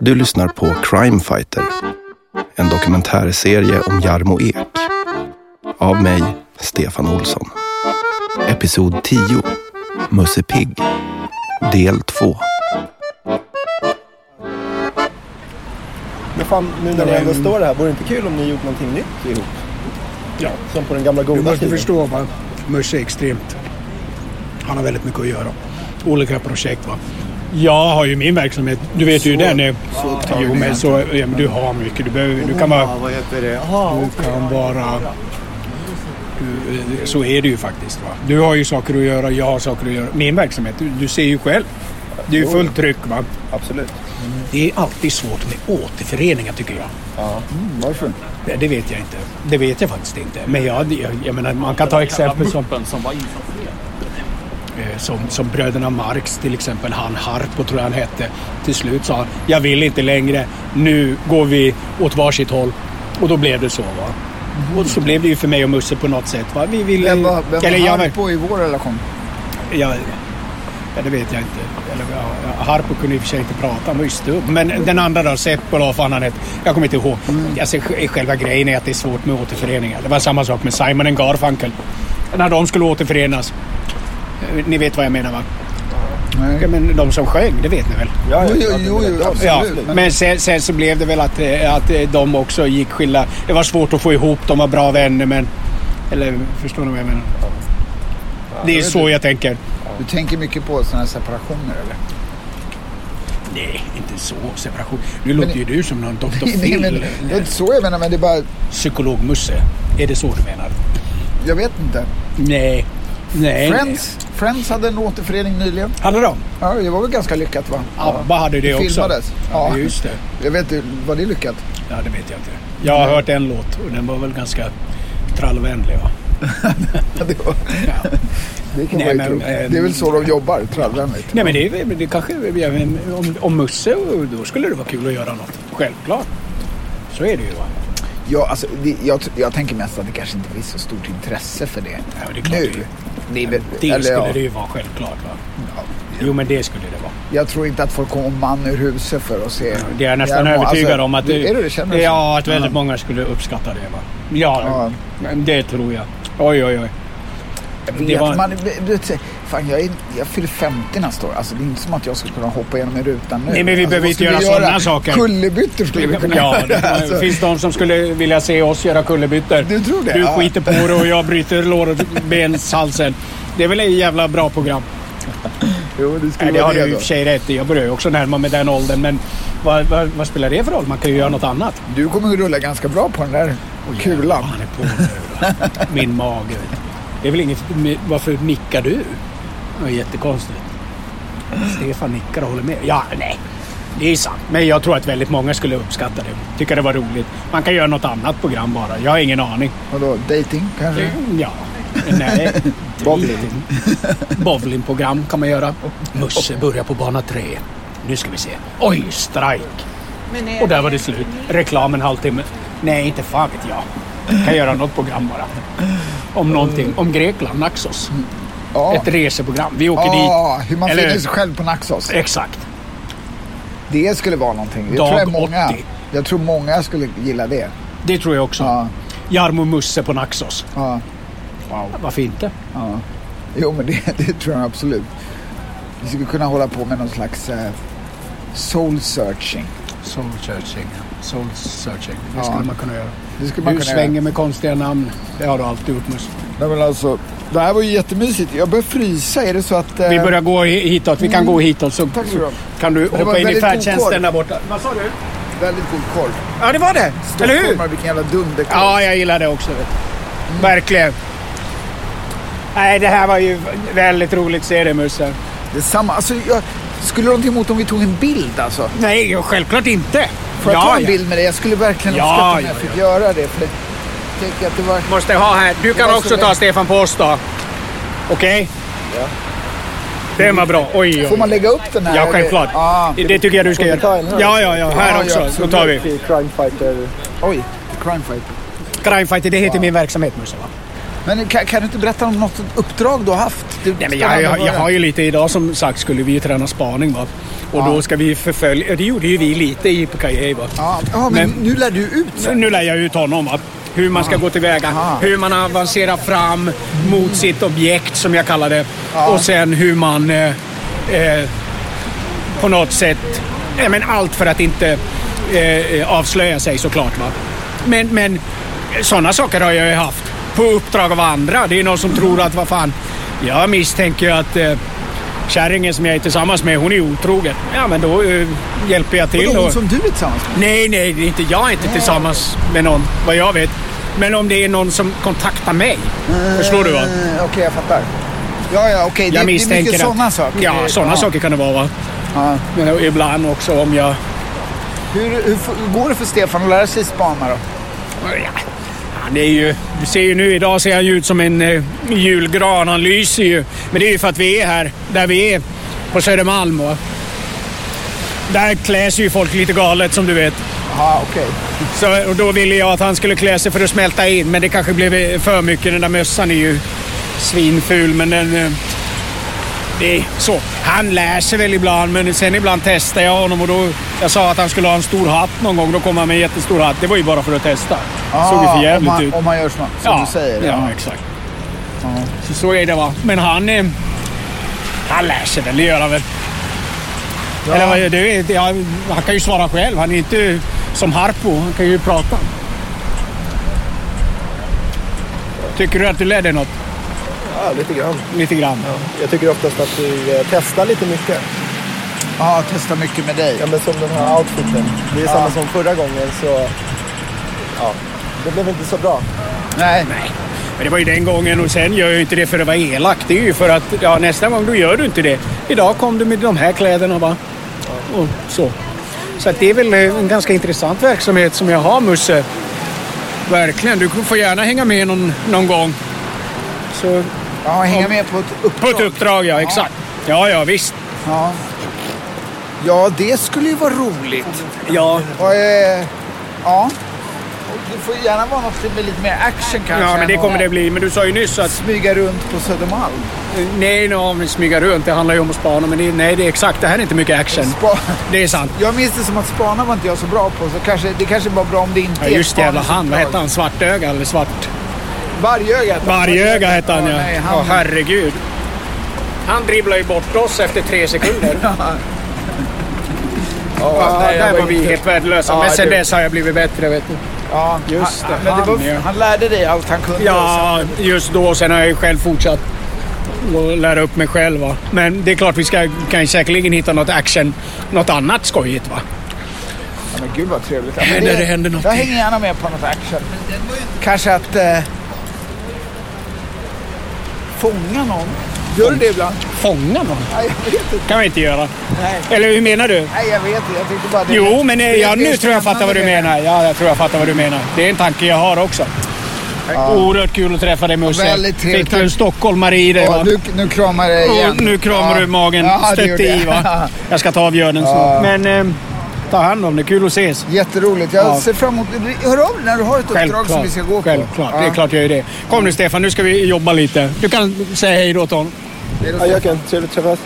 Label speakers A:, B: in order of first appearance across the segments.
A: Du lyssnar på Crime Fighter, en dokumentärserie om Jarmo Ek. Av mig, Stefan Olsson. Episod 10, Musse Pigg, del 2.
B: Men fan, nu när ni ändå står här, vore det inte kul om ni gjort någonting nytt ihop?
C: Ja.
B: Som på den gamla
C: Du
B: goda
C: måste
B: tiden.
C: förstå va, Musse är extremt... Han har väldigt mycket att göra. Olika projekt va. Jag har ju min verksamhet, du vet ju den är... Jo men så, ja, men du har mycket. Du, behöver, du kan vara...
D: Ja, vad heter det? Aha.
C: Du kan vara... Du, så är det ju faktiskt va. Du har ju saker att göra, jag har saker att göra. Min verksamhet, du, du ser ju själv. Det är ju fullt tryck va.
B: Absolut.
C: Det är alltid svårt med återföreningar tycker jag.
D: Varför?
C: Det, det vet jag inte. Det vet jag faktiskt inte. Men jag, jag, jag menar, man kan ta exempel som... Eh, som, som bröderna Marx till exempel, han Harpo tror jag han hette. Till slut sa han, jag vill inte längre, nu går vi åt varsitt håll. Och då blev det så. Va? Och så blev det ju för mig och Musse på något sätt. Va? Vi ville...
D: Vem var, vem
C: eller
D: var
C: jag,
D: han på i vår relation?
C: jag, ja, det vet jag inte. Eller, ja, ja, Harpo kunde i och för sig inte prata, han var ju stubb. Men den andra då, Seppo eller vad fan han hette. Jag kommer inte ihåg.
D: Mm.
C: Alltså, sj- själva grejen är att det är svårt med återföreningar. Det var samma sak med Simon and Garfunkel. När de skulle återförenas. Eh, Ni vet vad jag menar va? Ja,
D: Nej.
C: men de som sjöng, det vet ni väl?
B: Ja,
D: Jo,
B: ja, ja,
D: jo, jo,
B: det
D: jo
B: vet jag.
D: absolut.
C: Ja,
D: men,
C: men sen, sen så blev det väl att, eh, att eh, de också gick skilda. Det var svårt att få ihop, de var bra vänner men... Eller förstår ni vad jag menar? Det är
D: vet
C: så jag tänker.
D: du tänker mycket på sådana här separationer eller?
C: Nej, inte så. Separation. Nu låter ju du som någon doktor
D: Nej, men,
C: Phil.
D: det är inte så jag menar, men det är bara...
C: Psykologmusse. Är det så du menar?
D: Jag vet inte.
C: Nej. Nej.
D: Friends, Friends hade en återförening nyligen.
C: Hade de?
D: Ja, det var väl ganska lyckat va?
C: ABBA hade det också.
D: filmades.
C: Ja,
D: Ja.
C: just det.
D: Jag vet inte, var det lyckat?
C: Ja, det vet jag inte. Jag har hört en låt och den var väl ganska trallvänlig va?
D: Ja, det, var,
C: Ja.
D: det kan
C: Nej,
D: man ju
C: men,
D: tro.
C: eh,
D: Det är väl så de jobbar, trallvänligt.
C: Nej men det, är- men det kanske, ja, men om, om Musse, då skulle det vara kul att göra något. Självklart. Så är det ju va.
D: Ja, alltså, det, jag, jag tänker mest att det kanske inte finns så stort intresse för det.
C: Ja, men det är klart
D: nu. Det, är väl-
C: Det
D: eller
C: skulle
D: ja.
C: det ju vara självklart va. Jo men det skulle det vara.
D: Jag tror inte att folk kommer man ur huset för att se.
C: Det är jag nästan
D: Jarmo.
C: övertygad om att...
D: alltså, det, är det, det känner du
C: Ja, att väldigt många skulle uppskatta det. Va? Ja, men det tror jag. Oj, oj, oj.
D: så?
C: det
D: Vet
C: var-
D: man, du vet, fan, jag, är, jag fyller 50 nästa år. Alltså, det är inte som att jag skulle kunna hoppa igenom en ruta nu.
C: Nej, men vi
D: alltså,
C: behöver
D: vad
C: inte
D: skulle
C: göra
D: vi
C: sådana saker.
D: Kullerbyttor skulle vi kunna
C: Ja,
D: göra.
C: det
D: Alltså,
C: finns de som skulle vilja se oss göra kullerbyttor.
D: Du tror det?
C: Du
D: Ja.
C: skiter på det och jag bryter lår och benshalsen. Det är väl ett jävla bra program.
D: Jo, det
C: Nej,
D: skulle
C: det
D: vara
C: har
D: det
C: du i
D: då.
C: och för sig rätt i. Jag börjar ju också närma mig den åldern. Men vad, vad, vad spelar det för roll? Man kan ju göra något annat.
D: Du kommer ju rulla ganska bra på
C: Oh,
D: den där kulan.
C: Han är på nu. va? Min mage. vet du. Det är väl inget... Varför nickar du? Det var jättekonstigt. Stefan nickar och håller med. Ja, nej. Det är sant. Men jag tror att väldigt många skulle uppskatta det. Tycka det var roligt. Man kan göra något annat program bara. Jag har ingen aning.
D: Vadå, dating kanske?
C: Mm, Ja. Nej. Bowling. Bowlingprogram kan man göra. Musse börjar på bana tre. Nu ska vi se. Oj, strike! Och där var det slut. Reklam en halvtimme. Nej, inte fan vet jag. Kan göra något program bara. Om någonting. Om Grekland, Naxos.
D: Ja.
C: Ett reseprogram. Vi åker
D: Ja, Ah. hur man
C: Eller-
D: finner sig själv på Naxos.
C: dit. Exakt.
D: Det skulle vara någonting. Jag
C: Dag
D: tror jag, många,
C: 80.
D: jag tror många skulle gilla det.
C: Det tror jag också.
D: Ja,
C: Jarmo Musse på Naxos.
D: ja,
C: Varför inte?
D: ja. Jo, men det, det tror jag absolut. Vi skulle kunna hålla på med någon slags eh, soul searching.
C: Soul searching. Soul searching. Det
D: Ja.
C: skulle man kunna göra.
D: Det skulle man
C: Du
D: kunna
C: svänger med konstiga namn. Det har du alltid gjort Musse.
D: Nej, men alltså, det här var ju jättemysigt. Jag börjar frysa. Är det så att... eh,
C: Vi börjar gå hi- hitåt. Vi kan gå hitåt så
D: Tack så du ha.
C: kan Mm. du
D: var
C: hoppa in i
D: väldigt god korv.
C: färdtjänsten där borta. Vad sa du?
D: Väldigt god korv.
C: Ja, det var det. Eller hur?
D: Stockholmare, vilken jävla dunderkorv.
C: Ja, jag gillar det också. Vet. du. Verkligen. Nej, det här var ju väldigt roligt serie Musse.
D: Detsamma. Alltså, jag skulle du ha något emot om vi tog en bild alltså?
C: Nej, självklart inte.
D: Får jag
C: ja,
D: ta en bild med dig? Jag skulle verkligen
C: Ja,
D: uppskatta om
C: ja,
D: jag fick
C: ja.
D: göra det. För det, jag tänker att det var...
C: ja. Måste ha här. Du
D: Det
C: kan
D: var så
C: också ta
D: lätt.
C: Stefan på oss då. Okej?
D: Ja.
C: Den var bra. Oj,
D: Får
C: oj.
D: man lägga upp den här?
C: Ja, självklart.
D: Ja.
C: Det tycker jag du ska
B: Får vi ta en
C: göra.
B: här?
C: Ja, ja, ja.
D: Ja,
C: Här
D: ja,
C: också. Då
D: absolut.
C: tar vi.
B: Crime Fighter.
D: Oj, crime fighter.
C: Crimefighter, det heter min verksamhet Musse va?
D: Men kan, kan du inte berätta om något uppdrag du har haft? Du,
C: Nej, men jag, jag, jag har ju lite idag som sagt skulle vi ju träna spaning va. Och
D: Ja.
C: då ska vi förfölja, det gjorde ju vi lite i Pukajé va.
D: Ja, ja, men,
C: Men-
D: nu lär du ut.
C: Så Nu lär jag ut honom va. Hur man ska gå tillväga,
D: Aha.
C: hur man avancerar fram mot sitt objekt som jag kallar det.
D: Ja.
C: Och sen hur man eh, eh, på något sätt, ja, men allt för att inte eh, avslöja sig såklart. Va? Men, men sådana saker har jag ju haft på uppdrag av andra. Det är ju någon som tror att, vad fan, jag misstänker ju att eh, kärringen som jag är tillsammans med, hon är otrogen. Ja, men då eh, hjälper jag till.
D: Vadå,
C: och-
D: hon som du är tillsammans med?
C: Nej, nej, det är inte, jag är inte tillsammans med någon, vad jag vet. Men om det är någon som kontaktar mig. Förstår du va?
D: Eh, Okej, jag fattar. Ja, ja, okej.
C: Jag
D: Det, det är mycket
C: misstänker
D: sådana
C: att...
D: saker.
C: Ja, sådana saker kan det vara va.
D: Ja.
C: Men ibland också om jag...
D: Hur, hur f- går det för Stefan att lära sig spana då?
C: Ja, Han är ju, du ser ju nu idag ser han ju ut som en eh, julgran, han lyser ju. Men det är ju för att vi är här, där vi är, på Södermalm. Och där kläs ju folk lite galet som du vet.
D: Ja, okej.
C: Så, och då ville jag att han skulle klä sig för att smälta in, men det kanske blev eh, för mycket. Den där mössan är ju svinful, men den... eh, Det är så. Han lär sig väl ibland, men sen ibland testar jag honom och då... Jag sa att han skulle ha en stor hatt någon gång, då kom han med en jättestor hatt. Det var ju bara för att testa.
D: Ah,
C: Såg ju för
D: om,
C: jävligt
D: man,
C: ut.
D: om man gör som, som du säger.
C: Ja, exakt. Så, så är det va. Men han... eh, Han lär sig väl, det gör han väl.
D: Ja.
C: Eller vad gör du? Ja, han kan ju svara själv. Han är inte som Harpo. Han kan ju prata. Tycker du att du lär dig något?
B: Ja, lite grann.
C: Lite grann.
B: Ja. Jag tycker oftast att du eh, testar lite mycket.
D: Ja, testa mycket med dig.
B: Ja, men som den här outfiten. Det är samma som förra gången så... Ja, det blev inte så bra.
D: Nej.
C: Men det var ju den gången och sen gör jag ju inte det för att vara elak. Det är ju för att ja, nästa gång då gör du inte det. Idag kom du med de här kläderna va? Och så. Så att det är väl eh, en ganska intressant verksamhet som jag har Musse. Verkligen. Du får gärna hänga med någon, någon gång. Så,
D: Ja, hänga med på ett
C: på
D: uppdrag.
C: ett uppdrag ja, exakt. Ja, ja visst.
D: Ja. ja, det skulle ju vara roligt.
C: Ja,
D: Och, eh, ja. Och det får gärna vara något med lite mer action kanske.
C: ja men det
D: än
C: kommer
D: att
C: det bli. Men du sa ju nyss att
D: Smyga runt på Södermalm.
C: eh, nej, no, om vi smyga runt. Det handlar ju om att spana. Men det, nej, det är exakt. Det här är inte mycket action.
D: Spa-
C: Det är sant.
D: Jag minns det som att spana var inte jag så bra på. Så kanske, det kanske var bra om det inte
C: Ja,
D: är
C: just det, jävla han. Vad hette
D: spaningsuppdrag.
C: han? Svartöga eller svart?
D: Vargögat.
C: Vargöga hette han ja.
D: Ja, nej, han-
C: Åh, herregud. Han dribblar ju bort oss efter tre sekunder.
D: Ja,
C: Ja,
D: nej, jag
C: där var vi
D: inte-
C: helt värdelösa.
D: Ja,
C: Men sen
D: det-
C: dess har jag blivit bättre, vet du.
D: Ja,
C: Just det,
D: han, men det
C: han,
D: var,
C: ja.
D: han lärde dig allt han kunde.
C: Ja, just då. Sen har jag ju själv fortsatt att lära upp mig själv. Va? Men det är klart, vi ska, kan ju säkerligen hitta något action, något annat skojigt. Va?
D: Ja, men gud vad trevligt. Ja,
C: När
D: men
C: det händer något.
D: Jag hänger gärna med på något action. Kanske att... Eh, fånga någon. Gör du det ibland?
C: Fånga någon?
D: Nej, jag vet inte.
C: kan vi inte göra.
D: Nej.
C: Eller hur menar du?
D: Nej, jag vet inte. Jag tyckte bara det.
C: Jo, men eh,
D: det-
C: ja,
D: det är
C: nu tror jag fattar vad du
D: spännande.
C: menar. Ja, jag tror jag fattar vad du menar. Det är en tanke jag har också. Oerhört kul att träffa dig Musse.
D: Väldigt trevligt.
C: Fick du en stockholmare i dig?
D: Ja,
C: va?
D: nu, nu kramar jag
C: Och
D: igen.
C: nu kramar
D: Ja.
C: du magen.
D: Ja, det
C: Stötte
D: gjorde
C: i
D: jag.
C: va? Jag ska ta av Björnen snart. Men eh, ta hand om det. Kul att ses.
D: Jätteroligt. Jag
C: Ja.
D: ser fram emot... Hör av dig när du har ett uppdrag som vi ska gå på.
C: Självklart.
D: Ja.
C: Det är klart jag gör det. Kom nu Stefan, nu ska vi jobba lite. Du kan säga hej då till honom.
B: Ja, jag kan. Trevligt att träffas.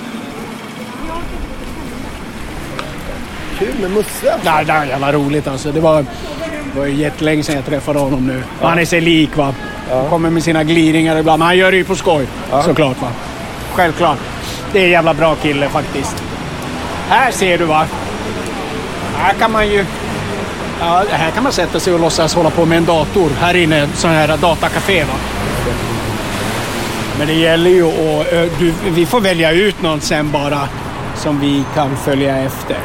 B: Kul med Musse.
C: Det där är jävla roligt alltså. Det var, det var ju jättelänge sedan jag träffade honom nu. Han är sig lik va. Kommer med sina gliringar ibland. Men han gör det ju på skoj såklart va. Självklart. Det är en jävla bra kille faktiskt. Här ser du va. Här kan man ju... Ja, här kan man sätta sig och låtsas hålla på med en dator. Här inne, sån här datacafé va. Men det gäller ju att... ö, Du, vi får välja ut någon sen bara som vi kan följa efter.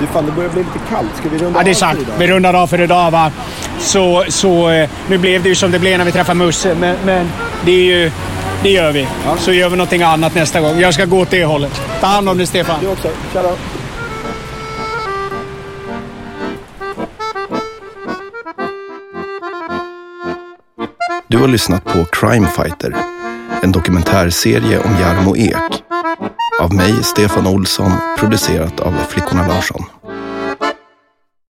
B: Du, fan, det börjar bli lite kallt. Ska vi runda
C: Ja, det är
B: av
C: sant.
B: för idag?
C: Vi rundar av för idag. Va? Så, så, eh, nu blev det ju som det blev när vi träffade Musse, men, men det, är ju, det gör vi. Så gör vi någonting annat nästa gång. Jag ska gå åt det hållet. Ta hand om dig, Stefan.
B: Du också. Tja då.
A: Du har lyssnat på Crime Fighter, en dokumentärserie om Jarmo Ek. Av mig, Stefan Olsson, producerat av Flickorna Larsson.